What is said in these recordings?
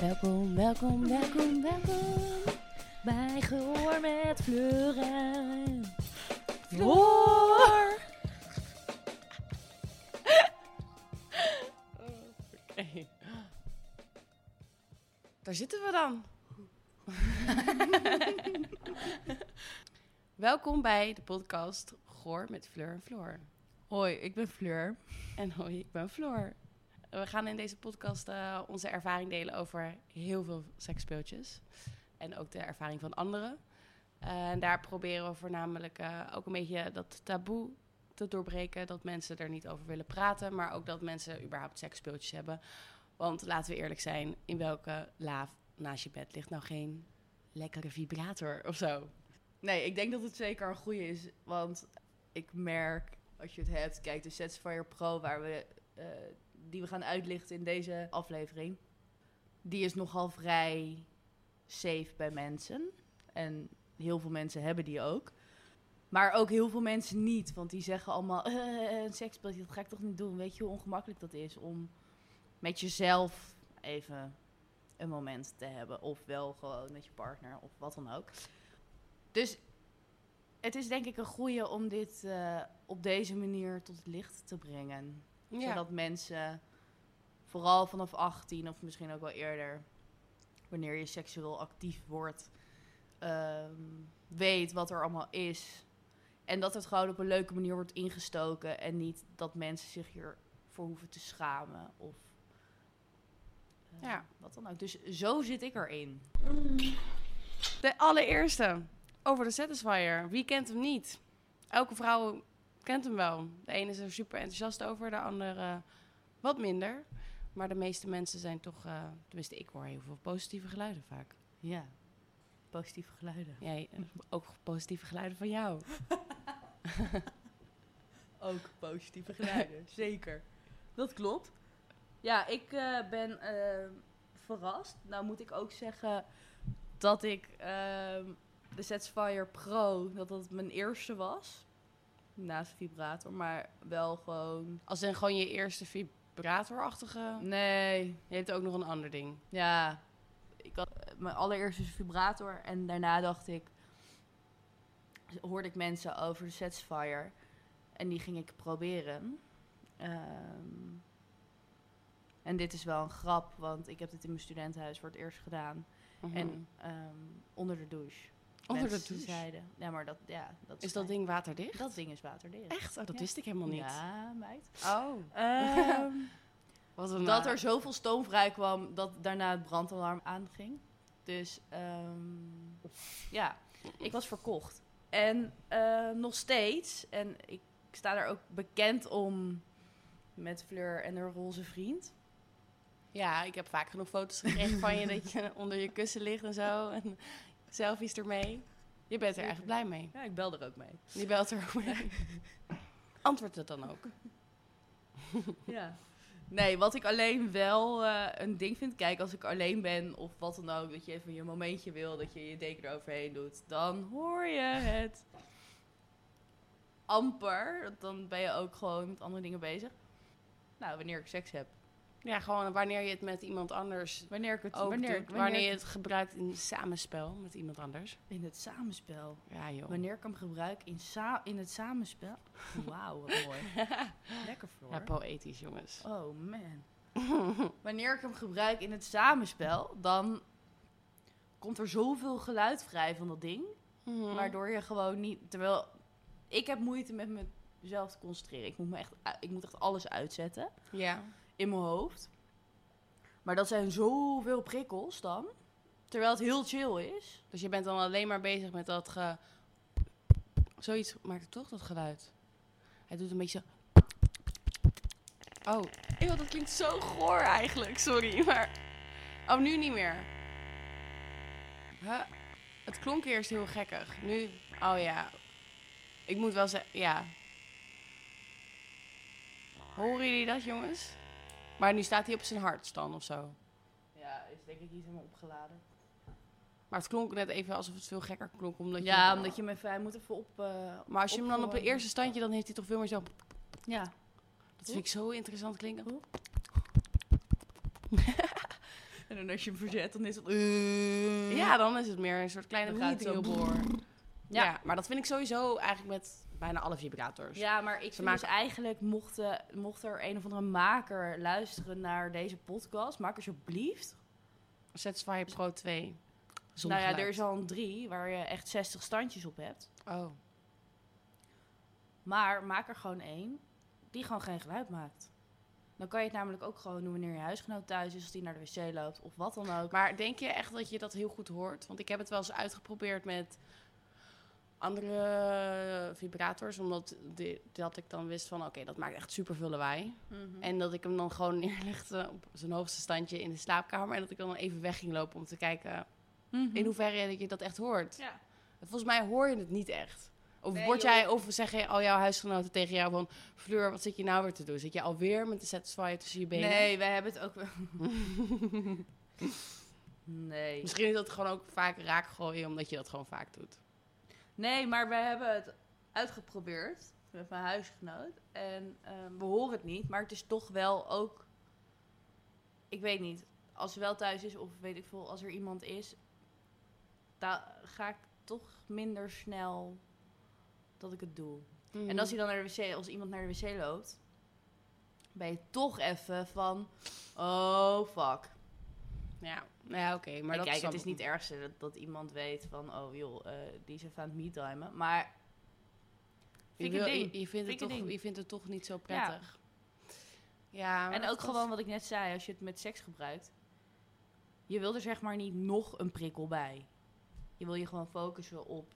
Welkom, welkom, welkom, welkom bij Gehoor met Fleur en Floor. Daar zitten we dan. Welkom bij de podcast Goor met Fleur en Floor. Hoi, ik ben Fleur. En hoi, ik ben Floor. We gaan in deze podcast eh, onze ervaring delen over heel veel seksspeeltjes. En ook de ervaring van anderen. Eh, en daar proberen we voornamelijk eh, ook een beetje dat taboe te doorbreken. Dat mensen er niet over willen praten. Maar ook dat mensen überhaupt seksspeeltjes hebben. Want laten we eerlijk zijn, in welke laaf naast je bed ligt nou geen lekkere vibrator of zo? Nee, ik denk dat het zeker een goede is. Want ik merk, als je het hebt, kijk de Satisfyer Pro, waar we, eh, die we gaan uitlichten in deze aflevering. Die is nogal vrij safe bij mensen. En heel veel mensen hebben die ook. Maar ook heel veel mensen niet. Want die zeggen allemaal, "Eh, een seksspeeltje, dat ga ik toch niet doen. Weet je hoe ongemakkelijk dat is om met jezelf even een moment te hebben. Of wel gewoon met je partner of wat dan ook. Dus het is denk ik een goede om dit eh, op deze manier tot het licht te brengen. Zodat mensen, vooral vanaf 18 of misschien ook wel eerder, wanneer je seksueel actief wordt, ehm, weet wat er allemaal is. En dat het gewoon op een leuke manier wordt ingestoken en niet dat mensen zich hiervoor hoeven te schamen of eh, Ja. wat dan ook. Dus zo zit ik erin. De allereerste. Over de Satisfyer. Wie kent hem niet? Elke vrouw kent hem wel. De ene is er super enthousiast over, de andere wat minder. Maar de meeste mensen zijn toch, eh, tenminste ik hoor heel veel positieve geluiden vaak. Ja, positieve geluiden. Jij, eh, ook positieve geluiden van jou. Ook positieve geluiden, zeker. Dat klopt. Ja, ik eh, ben eh, verrast. Nou moet ik ook zeggen dat ik ehm, de Satisfyer Pro, dat dat mijn eerste was. Naast de vibrator, maar wel gewoon... Als in gewoon je eerste vibratorachtige... Nee, Je hebt ook nog een ander ding. ja. Ik had eh, mijn allereerste is vibrator en daarna dacht ik... Hoorde ik mensen over de Satisfyer en die ging ik proberen. Ehm, en dit is wel een grap, want ik heb dit in mijn studentenhuis voor het eerst gedaan. En En ehm, onder de douche. onder de Mensen douche. zeiden- ja, maar dat, ja, dat Is dat fijn. ding waterdicht? Dat ding is waterdicht. Echt? Oh, dat Ja. wist ik helemaal niet. Ja, meid. Oh. Ehm, Wat een dat eh, er zoveel stoom vrij kwam dat daarna het brandalarm aanging. Dus ehm, ja, ik was verkocht. En eh, nog steeds, en ik sta daar ook bekend om met Fleur en haar roze vriend. Ja, ik heb vaak genoeg foto's gekregen van je dat je onder je kussen ligt en zo. En selfies ermee. Je bent er Zeker. echt blij mee. Ja, ik bel er ook mee. Je belt er ook mee. Antwoord het dan ook. Ja. Nee, wat ik alleen wel eh, een ding vind, kijk, als ik alleen ben of wat dan ook, dat je even je momentje wil, dat je je deken eroverheen doet, dan hoor je het amper. Want Dan ben je ook gewoon met andere dingen bezig. Nou, wanneer ik seks heb. Ja, gewoon wanneer je het met iemand anders Wanneer ik het ook wanneer, doet. ik- Wanneer, je het gebruikt in samenspel met iemand anders. in het samenspel. Ja, joh. Wanneer ik hem gebruik in, sa in het samenspel. Wauw, wat mooi. Lekker Floor. Ja, poëtisch, jongens. Oh man. Wanneer ik hem gebruik in het samenspel, dan komt er zoveel geluid vrij van dat ding. Mhm. Waardoor je gewoon niet. Terwijl ik heb moeite met mezelf te concentreren. Ik moet, me echt, ik moet echt alles uitzetten Ja. in mijn hoofd. Maar dat zijn zoveel prikkels dan. Terwijl het heel chill is. Dus je bent dan alleen maar bezig met dat ge... Zoiets maakt het toch, dat geluid? Hij doet een beetje zo... Oh, eeuw, dat klinkt zo goor eigenlijk, sorry. Maar... Oh, nu niet meer. Huh? Het klonk eerst heel gekkig. Nu... Oh ja. Ik moet wel zeggen... Ja. Horen jullie dat, jongens? Maar nu staat hij op zijn hartstand of zo. Ja, is denk ik iets helemaal opgeladen. Maar het klonk net even alsof het veel gekker klonk. Omdat je ja, hem- omdat je hem even, hij moet even op... eh, Maar als je hem dan op een opgewonden- eerste standje, dan heeft hij toch veel meer zo... Ja. Dat vind ik zo interessant klinken. En dan als je hem verzet, dan is het... Mm. Ja, dan is het meer een soort kleine Dan gaat het zo meetingelboor. Ja. Ja. maar dat vind ik sowieso eigenlijk met bijna alle vibrators. Ja, maar ik Ze vind dus eigenlijk, mocht, eh, mocht er een of andere maker luisteren naar deze podcast, maak alsjeblieft. Satisfyer Pro 2. nou ja, er is al een drie waar je echt 60 standjes op hebt. Oh, Maar maak er gewoon één die gewoon geen geluid maakt. Dan kan je het namelijk ook gewoon doen wanneer je huisgenoot thuis is, als die naar de wc loopt of wat dan ook. maar denk je echt dat je dat heel goed hoort? Want ik heb het wel eens uitgeprobeerd met andere vibrators, omdat de- dat ik dan wist van, oké, dat maakt echt super veel lawaai. Mm. En dat ik hem dan gewoon neerlegde op zijn hoogste standje in de slaapkamer en dat ik dan even weg ging lopen om te kijken Mhm. in hoeverre dat je dat echt hoort. Ja. Volgens mij hoor je het niet echt. Of, Nee, word joh. jij, of zeggen al jouw huisgenoten tegen jou van... Fleur, wat zit je nou weer te doen? Zit je alweer met de satisfier tussen je benen? Nee, wij hebben het ook wel. nee. Misschien is dat gewoon ook vaak raakgooien... omdat je dat gewoon vaak doet. Nee, maar we hebben het uitgeprobeerd met mijn huisgenoot. En ehm, we horen het niet, maar het is toch wel ook. Ik weet niet. Als ze wel thuis is, of weet ik veel, als er iemand is, dan ga ik toch minder snel dat ik het doe. Mm. En als hij dan naar de wc, als iemand naar de wc loopt, ben je toch even van, oh fuck. Ja, nou ja oké. maar En dat kijk, dan- het is niet het ergste dat, dat iemand weet van, oh joh, eh, die is even aan het meetimen. Maar Je, Vind ik een wil- je- ding. je vindt het Vind ik een toch, ding. je vindt het toch niet zo prettig. Ja. maar En dat- ook dat- gewoon wat ik net zei, als je het met seks gebruikt, je wil er zeg maar niet nog een prikkel bij. Je wil je gewoon focussen op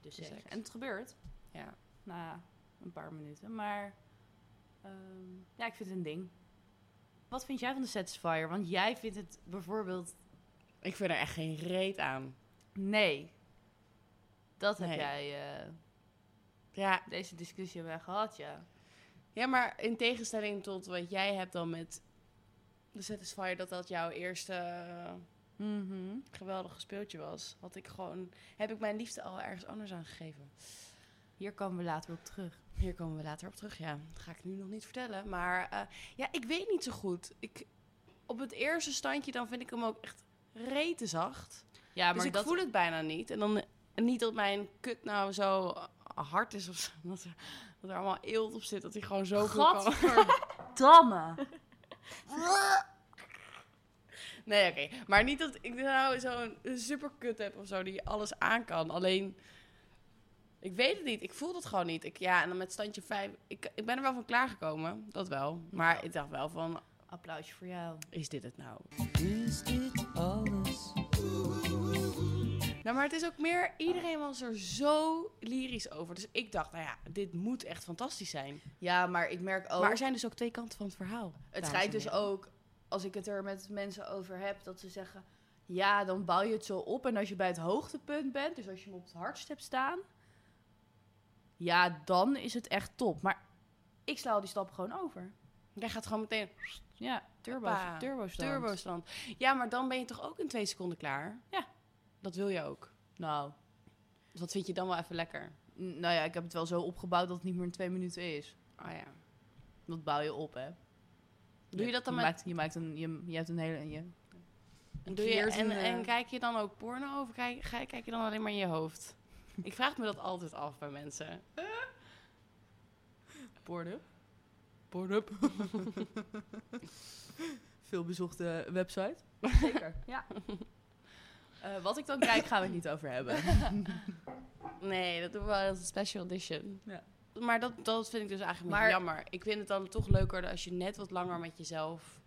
de seks. seks. En het gebeurt Ja. na een paar minuten, maar ehm, ja, ik vind het een ding. Wat vind jij van de Satisfier? Want jij vindt het bijvoorbeeld Ik vind er echt geen reet aan. nee. Dat heb Nee. jij, eh, Ja, deze discussie hebben wij gehad, ja. Ja, maar in tegenstelling tot wat jij hebt dan met de Satisfyer, dat dat jouw eerste eh, Mhm. geweldige speeltje was, had ik gewoon, heb ik mijn liefde al ergens anders aan gegeven. Hier komen we later op terug. Hier komen we later op terug, ja. Dat ga ik nu nog niet vertellen. Maar eh, ja, ik weet niet zo goed. Ik, op het eerste standje dan vind ik hem ook echt rete zacht. Ja, dus ik voel het bijna niet. En dan eh, niet dat mijn kut nou zo eh, hard is of zo. Dat er, dat er allemaal eelt op zit. Dat hij gewoon zo kan- Gadverdamme. Nee, oké. Maar niet dat ik nou zo'n superkut heb of zo die alles aan kan. Alleen, ik weet het niet. Ik voel dat gewoon niet. Ik, ja, en dan met standje 5. Ik, ik ben er wel van klaargekomen. Dat wel. Maar ik dacht wel van, Applausje voor jou. is dit het nou? Is dit alles? Nou, maar het is ook meer, iedereen was er zo lyrisch over. Dus ik dacht, nou ja, dit moet echt fantastisch zijn. Ja, maar ik merk ook. Maar er zijn dus ook twee kanten van het verhaal. het dames schijnt en dus heren. ook, als ik het er met mensen over heb, dat ze zeggen: ja, dan bouw je het zo op. En als je bij het hoogtepunt bent, dus als je hem op het hardst hebt staan, ja, dan is het echt top. Maar ik sla al die stappen gewoon over. Jij gaat gewoon meteen Ja, turbo, Hoppa. turbo, turbo. turbostand. Ja, maar dan ben je toch ook in twee seconden klaar? Ja. Dat wil je ook. Nou, Dus dat vind je dan wel even lekker. n- nou ja, ik heb het wel zo opgebouwd dat het niet meer in twee minuten is. Ah ja. Dat bouw je op, hè? Doe je dat dan je met... Maakt, je maakt een, je, je hebt een hele. Je, een eh, doe je, en, vliertende- en kijk je dan ook porno of kijk, ga- kijk je dan alleen maar in je hoofd? Ik vraag me dat altijd af bij mensen. Pornhub. Pornhub. Veel bezochte website. Zeker, ja. Eh, wat ik dan kijk, gaan we het niet over hebben. Nee, dat doen we wel als een special edition. Ja. Maar dat, dat vind ik dus eigenlijk Maar- maar, jammer. Ik vind het dan toch leuker als je net wat langer met jezelf...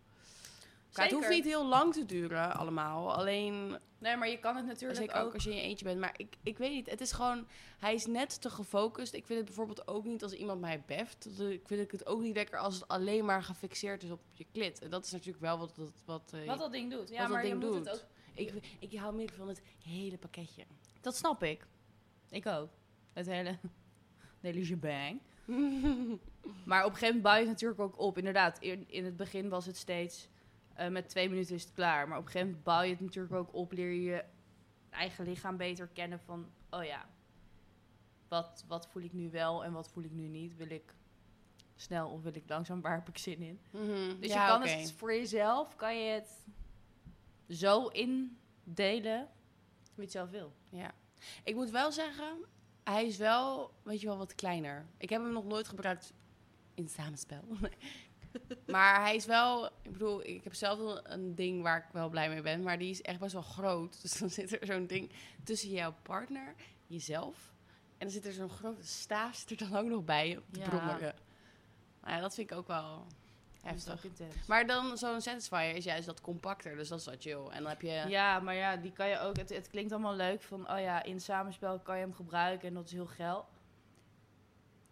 Kijk, het hoeft Zeker. niet heel lang te duren allemaal. Alleen, Nee, maar je kan het natuurlijk zeker ook, als je in je eentje bent. Maar ik, ik weet niet, het is gewoon... Hij is net te gefocust. Ik vind het bijvoorbeeld ook niet als iemand mij beft. Dat- eh, Ik vind het ook niet lekker als het alleen maar gefixeerd is op je klit. En dat is natuurlijk wel wat... wat, wat, eh, Wat dat ding doet. Ja, Wat dat maar ding je moet doet. het ook... Ik, ik hou meer van het hele pakketje. Dat snap ik. Ik ook. Het hele... De hele shebang. maar op een gegeven moment bouw je het natuurlijk ook op. Inderdaad, in, in het begin was het steeds... eh, Eh, met twee minuten is het klaar. Maar op een gegeven moment bouw je het natuurlijk ook op. Leer je je eigen lichaam beter kennen van... Oh ja, wat, wat voel ik nu wel en wat voel ik nu niet? Wil ik snel of wil ik langzaam? Waar heb ik zin in? Mhm. Dus Ja, je kan oké. het voor jezelf, kan je het zo indelen hoe je het zelf wil. Ja. Ik moet wel zeggen, hij is wel, weet je wel, wat kleiner. Ik heb hem nog nooit gebruikt in samenspel. maar hij is wel, ik bedoel, ik heb zelf wel een ding waar ik wel blij mee ben, maar die is echt best wel groot. Dus dan zit er zo'n ding tussen jouw partner, jezelf. En dan zit er zo'n grote staaf zit er dan ook nog bij, op te Ja. brommelen. Nou ja, dat vind ik ook wel Dus Dat is heftig. ook intens. Maar dan zo'n Satisfyer is juist dat compacter, dus dat is wat chill. En dan heb je... Ja, maar ja, die kan je ook. Het, het klinkt allemaal leuk van, oh ja, in samenspel kan je hem gebruiken en dat is heel geil.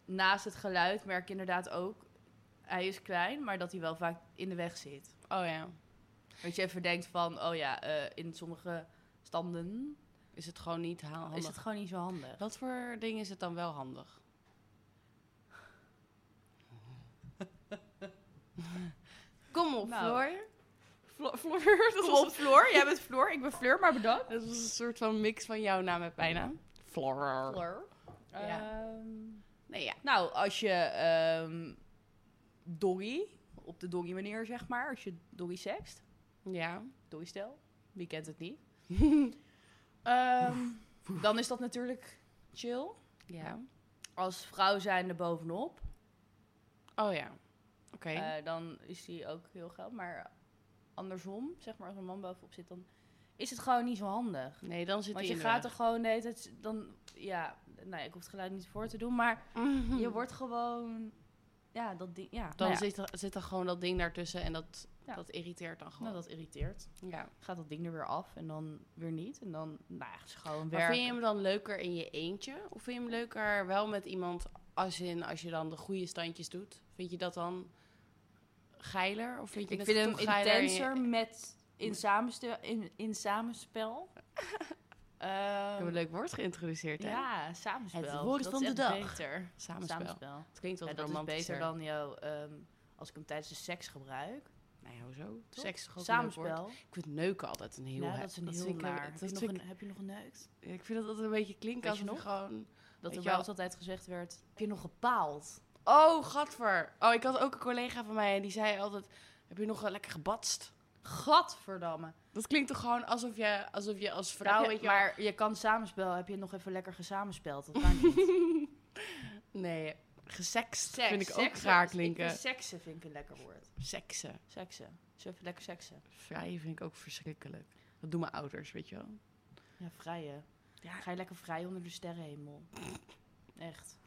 Naast het geluid merk je inderdaad ook, hij is klein, maar dat hij wel vaak in de weg zit. Oh ja. Dat je even denkt van, oh ja, eh, in sommige standen Is het gewoon niet haal- handig? is het gewoon niet zo handig. Wat voor ding is het dan wel handig? Kom op, Nou. Floor. Flo- Floor, dat was, Floor, jij bent Floor, ik ben Fleur, maar bedankt. dat was een soort van mix van jouw naam en bijna. Floor. Floor. Ehm, Ja. Nee, ja. Nou, als je ehm doggy, op de doggy manier zeg maar, als je doggy sext, Ja. Doei stel. Wie kent het niet? Ehm, dan is dat natuurlijk chill. Ja. Als vrouw zijnde bovenop, Oh ja. Oké. eh, dan is die ook heel geil. Maar andersom, zeg maar, als een man bovenop zit, dan is het gewoon niet zo handig. nee, dan zit Want die je in de gaat er weg. gewoon de hele tijd, dan, ja, nou ja, ik hoef het geluid niet voor te doen, maar Mhm. je wordt gewoon, ja, dat ding, ja. Dan nou ja, zit, er, zit er gewoon dat ding daartussen en dat, Ja. dat irriteert dan gewoon. nou, dat irriteert. ja. Gaat dat ding er weer af en dan weer niet. En dan, nou ja, het is gewoon Maar werken. vind je hem dan leuker in je eentje? Of vind je hem leuker wel met iemand als, in, als je dan de goede standjes doet? Vind je dat dan geiler? Of vind je Ik het vind hem toch geiler in je- intenser met in, samenstel, in, in samenspel. Ehm, Ik heb een leuk woord geïntroduceerd, hè? Ja, samenspel. Het woord Dat van is de echt dag. Beter. Samenspel. Samenspel. Het klinkt wat En dat is romantischer. beter dan jou, ehm, als ik hem tijdens de seks gebruik. Nou ja, hoezo? Toch? Seks is gewoon een leuk woord. Samenspel. Ik vind neuken altijd een heel... Ja, he- dat is een heel vind ik- naar. dat Heb je nog vind een- ik- Heb je nog geneukt? Ik vind dat altijd een beetje klinken Weet als je nog gewoon... Weet Dat je er wel. wel eens altijd gezegd werd, heb je nog gepaald? Oh, gadver. Oh, ik had ook een collega van mij en die zei altijd... Heb je nog wel lekker gebatst? Gadverdamme. Dat klinkt toch gewoon alsof je, alsof je als vrouw... Heb je- weet je wel- maar je kan samenspel, heb je nog even lekker gesamenspeld? Dat kan niet. Nee, gesext Seks, vind ik ook seksen. raar Ik klinken. vind seksen vind ik een lekker woord. Seksen. Seksen. Dus even lekker seksen. Vrijen vind ik ook verschrikkelijk. Dat doen mijn ouders, weet je wel. Ja, vrije. Ga je lekker vrij onder de sterrenhemel. Echt.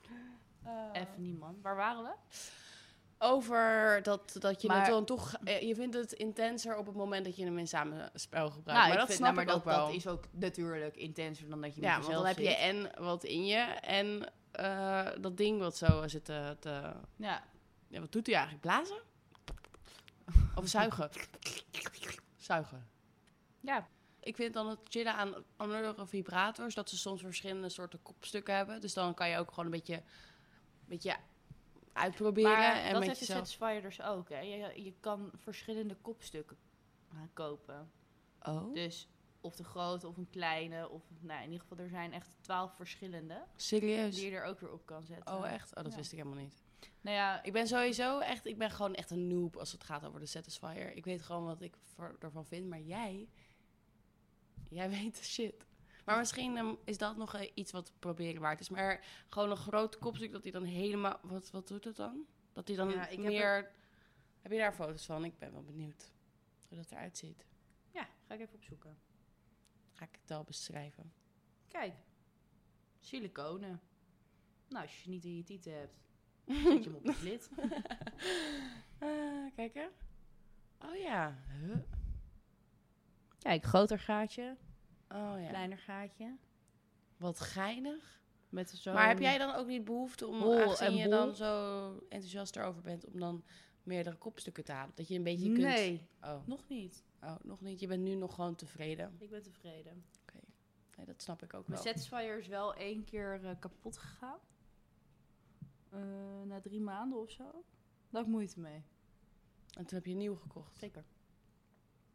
Even niet, man. Waar waren we? Over dat, dat je het Maar- dan toch... eh, Je vindt het intenser op het moment dat je hem in samenspel gebruikt. Nou, maar dat snap ik ook dat, wel. dat is ook natuurlijk intenser dan dat je met ja, want dan jezelf heb je zit. en wat in je en eh, dat ding wat zo zit te... te- Ja, Ja, wat doet hij eigenlijk? Blazen? Of zuigen? zuigen. ja. Ik vind dan het chillen aan andere vibrators dat ze soms verschillende soorten kopstukken hebben. Dus dan kan je ook gewoon een beetje, beetje uitproberen. maar en dat met heeft de jezelf. Satisfyer dus ook, hè. Je, je kan verschillende kopstukken eh, kopen. Oh. Dus of de grote of een kleine. Of, nou, in ieder geval, er zijn echt twaalf verschillende. Serieus? Die je er ook weer op kan zetten. Oh, echt? Oh, dat Ja. wist ik helemaal niet. Nou ja, Ik ben sowieso echt, ik ben gewoon echt een noob als het gaat over de Satisfyer. Ik weet gewoon wat ik voor- ervan vind, maar jij, jij weet de shit. Maar misschien ehm, is dat nog eh, iets wat proberen waard is. Maar gewoon een grote kopstuk dat hij dan helemaal, wat, wat doet het dan? Dat hij dan Ja, ik heb meer, heb, je daar foto's van? Ik ben wel benieuwd hoe dat eruit ziet. ja, ga ik even opzoeken. Ga ik het al beschrijven. Kijk. Siliconen. Nou, als je ze niet in je tieten hebt, zet je hem op de lid. Eh, kijk hè. Oh ja. Huh? Kijk, groter gaatje, Oh ja. kleiner gaatje. Wat geinig. Met zo'n... Maar heb jij dan ook niet behoefte om, Hol aangezien en je Ehm, bol. dan zo enthousiast erover bent, om dan meerdere kopstukken te halen? Dat je een beetje kunt... Nee, Oh, nog niet. oh, nog niet. Je bent nu nog gewoon tevreden. Ik ben tevreden. Nee, dat snap ik ook wel. Mijn Satisfyer is wel één keer eh, kapot gegaan. Eh, na drie maanden of zo. Daar had ik moeite mee. En toen heb je een nieuw gekocht. Zeker.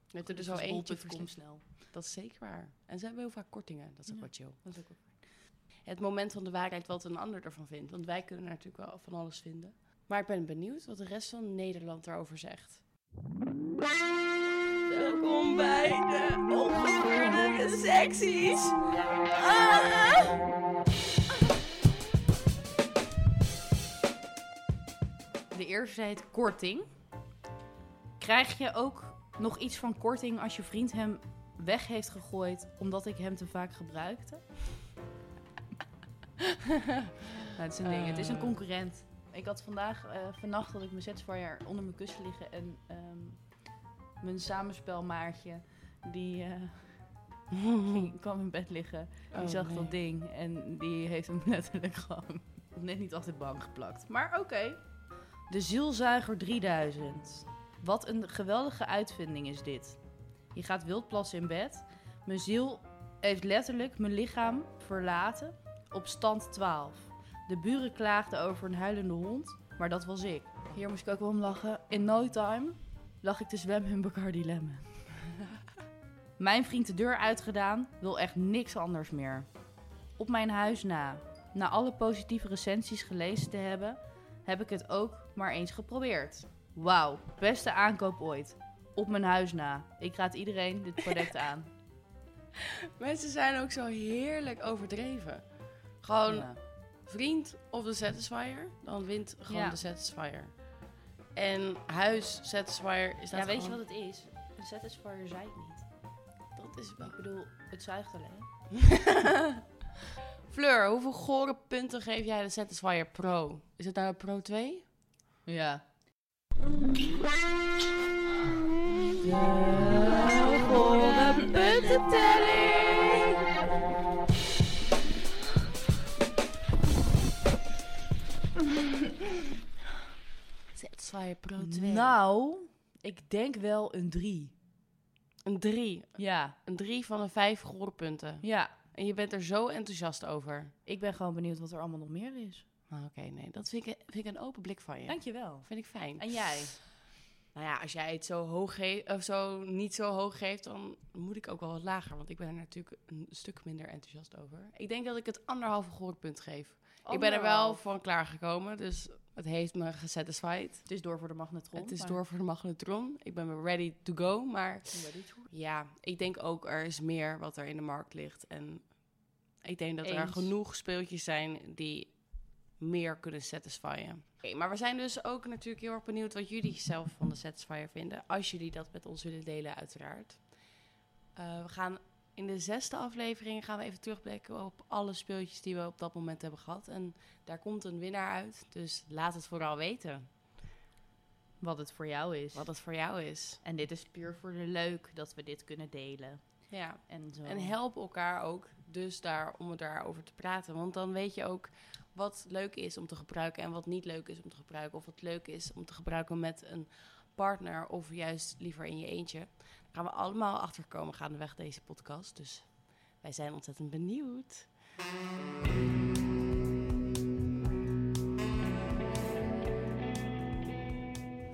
Je hebt er dus Gelukkig al is eentje bol.com verslikt. snel. Dat is zeker waar. En ze hebben heel vaak kortingen. Dat is Ja. ook wel chill. Dat is ook wel fijn. Het moment van de waarheid wat een ander ervan vindt. Want wij kunnen er natuurlijk wel van alles vinden. Maar ik ben benieuwd wat de rest van Nederland daarover zegt. Welkom bij de ongevoelige secties. Ah! De eerste heet korting. Krijg je ook nog iets van korting als je vriend hem weg heeft gegooid omdat ik hem te vaak gebruikte? nou, het is een ding. het is een concurrent. Ik had vandaag, eh, vannacht had ik mijn sets voor jaar onder mijn kussen liggen en ehm, mijn samenspelmaatje die eh, ging, kwam in bed liggen. Die Oh, zag nee. dat ding en die heeft hem letterlijk gewoon net niet achter de bank geplakt. Maar oké. De zielzuiger 3000. Wat een geweldige uitvinding is dit. Je gaat wild plassen in bed. Mijn ziel heeft letterlijk mijn lichaam verlaten op stand 12. De buren klaagden over een huilende hond, maar dat was ik. Hier moest ik ook wel om lachen. In no time lag ik te zwemmen in Bacardi Lemon. mijn vriend de deur uitgedaan, wil echt niks anders meer. Op mijn huis na. Na alle positieve recensies gelezen te hebben, heb ik het ook maar eens geprobeerd. Wauw, beste aankoop ooit. Op mijn huis na. Ik raad iedereen dit product aan. Mensen zijn ook zo heerlijk overdreven. Gewoon Ja. vriend of de Satisfier, dan wint gewoon Ja. de Satisfier. En huis Satisfier is dat Ja, weet je gewoon- wat het is? Een satisfier zuigt niet. Dat is wel... Ik bedoel, het zuigt alleen. Fleur, hoeveel gore punten geef jij de Satisfier Pro? Is het nou de Pro 2? Ja. Nou, Satisfier Pro Nou, ik denk wel een 3. Een 3. Ja, Een 3 van de 5 gore punten. ja. En je bent er zo enthousiast over. Ik ben gewoon benieuwd wat er allemaal nog meer is. Nou, oké, nee. Dat vind ik, vind ik een open blik van je. Dankjewel. Vind ik fijn. En jij? Nou ja, als jij het zo hoog geeft, of zo niet zo hoog geeft, dan moet ik ook wel wat lager. Want ik ben er natuurlijk een stuk minder enthousiast over. Ik denk dat ik het anderhalve gehoorpunt geef. Ik ben er wel van klaargekomen, dus het heeft me gesatisfied. Het is door voor de magnetron. Het is maar- door voor de magnetron. Ik ben weer ready to go, maar ja, ik denk ook er is meer wat er in de markt ligt. En ik denk dat er Eens. genoeg speeltjes zijn die meer kunnen satisfyen. Oké, maar we zijn dus ook natuurlijk heel erg benieuwd wat jullie zelf van de satisfier vinden. Als jullie dat met ons willen delen, uiteraard. Eh, we gaan in de zesde aflevering gaan we even terugblikken op alle speeltjes die we op dat moment hebben gehad. En daar komt een winnaar uit, dus laat het vooral weten Wat het voor jou is. wat het voor jou is. En dit is puur voor de leuk dat we dit kunnen delen. Ja. En zo. En help elkaar ook dus daar om het daarover te praten. Want dan weet je ook wat leuk is om te gebruiken en wat niet leuk is om te gebruiken. Of wat leuk is om te gebruiken met een partner of juist liever in je eentje. Daar gaan we allemaal achter komen gaandeweg deze podcast. Dus wij zijn ontzettend benieuwd.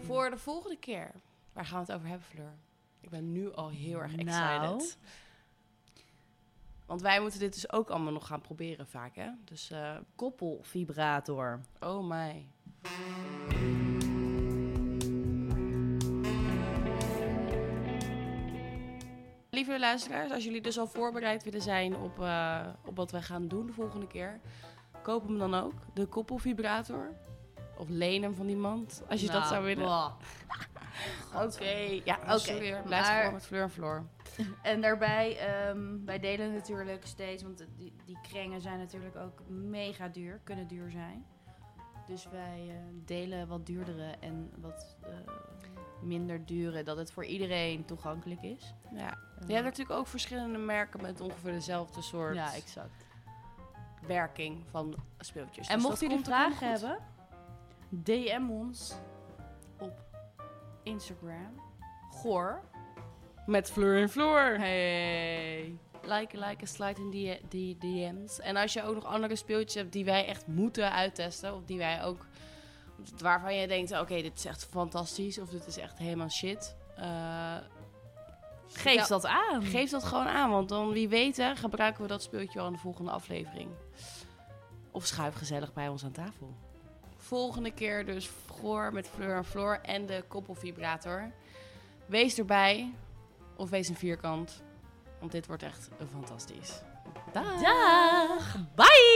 Voor de volgende keer, waar gaan we het over hebben, Fleur? Ik ben nu al heel erg excited. Nou. Want wij moeten dit dus ook allemaal nog gaan proberen vaak, hè? Dus, eh, Koppelvibrator. oh my. Lieve luisteraars, als jullie dus al voorbereid willen zijn op, eh, op wat wij gaan doen de volgende keer, koop hem dan ook, de koppelvibrator. Of leen hem van iemand, als je dat Nou, zou willen. bah. Oké, ja, oké. Oké, sorry, hoor. maar- blijf gewoon met Fleur en Floor. En daarbij, ehm, wij delen natuurlijk steeds, want die, die krengen zijn natuurlijk ook mega duur, kunnen duur zijn. Dus wij eh, delen wat duurdere en wat eh, minder dure, dat het voor iedereen toegankelijk is. Ja. Eh, Je hebt natuurlijk ook verschillende merken met ongeveer dezelfde soort ja, exact. werking van speeltjes. en Dus mocht dat jullie komt ook helemaal vragen goed. hebben, DM ons op Instagram. Goor. Met Fleur en Floor. Hey. Liken, liken, slide in die, die DM's. En als je ook nog andere speeltjes hebt die wij echt moeten uittesten. Of die wij ook. Waarvan je denkt: oké, dit is echt fantastisch. Of dit is echt helemaal shit. eh, Geef Ja. dat aan. Geef dat gewoon aan, want dan wie weet hè, gebruiken we dat speeltje al in de volgende aflevering. Of schuif gezellig bij ons aan tafel. Volgende keer dus Goor met Fleur en Floor en de koppelvibrator. Wees erbij of wees een vierkant, want dit wordt echt fantastisch. Dag! Dag! Bye!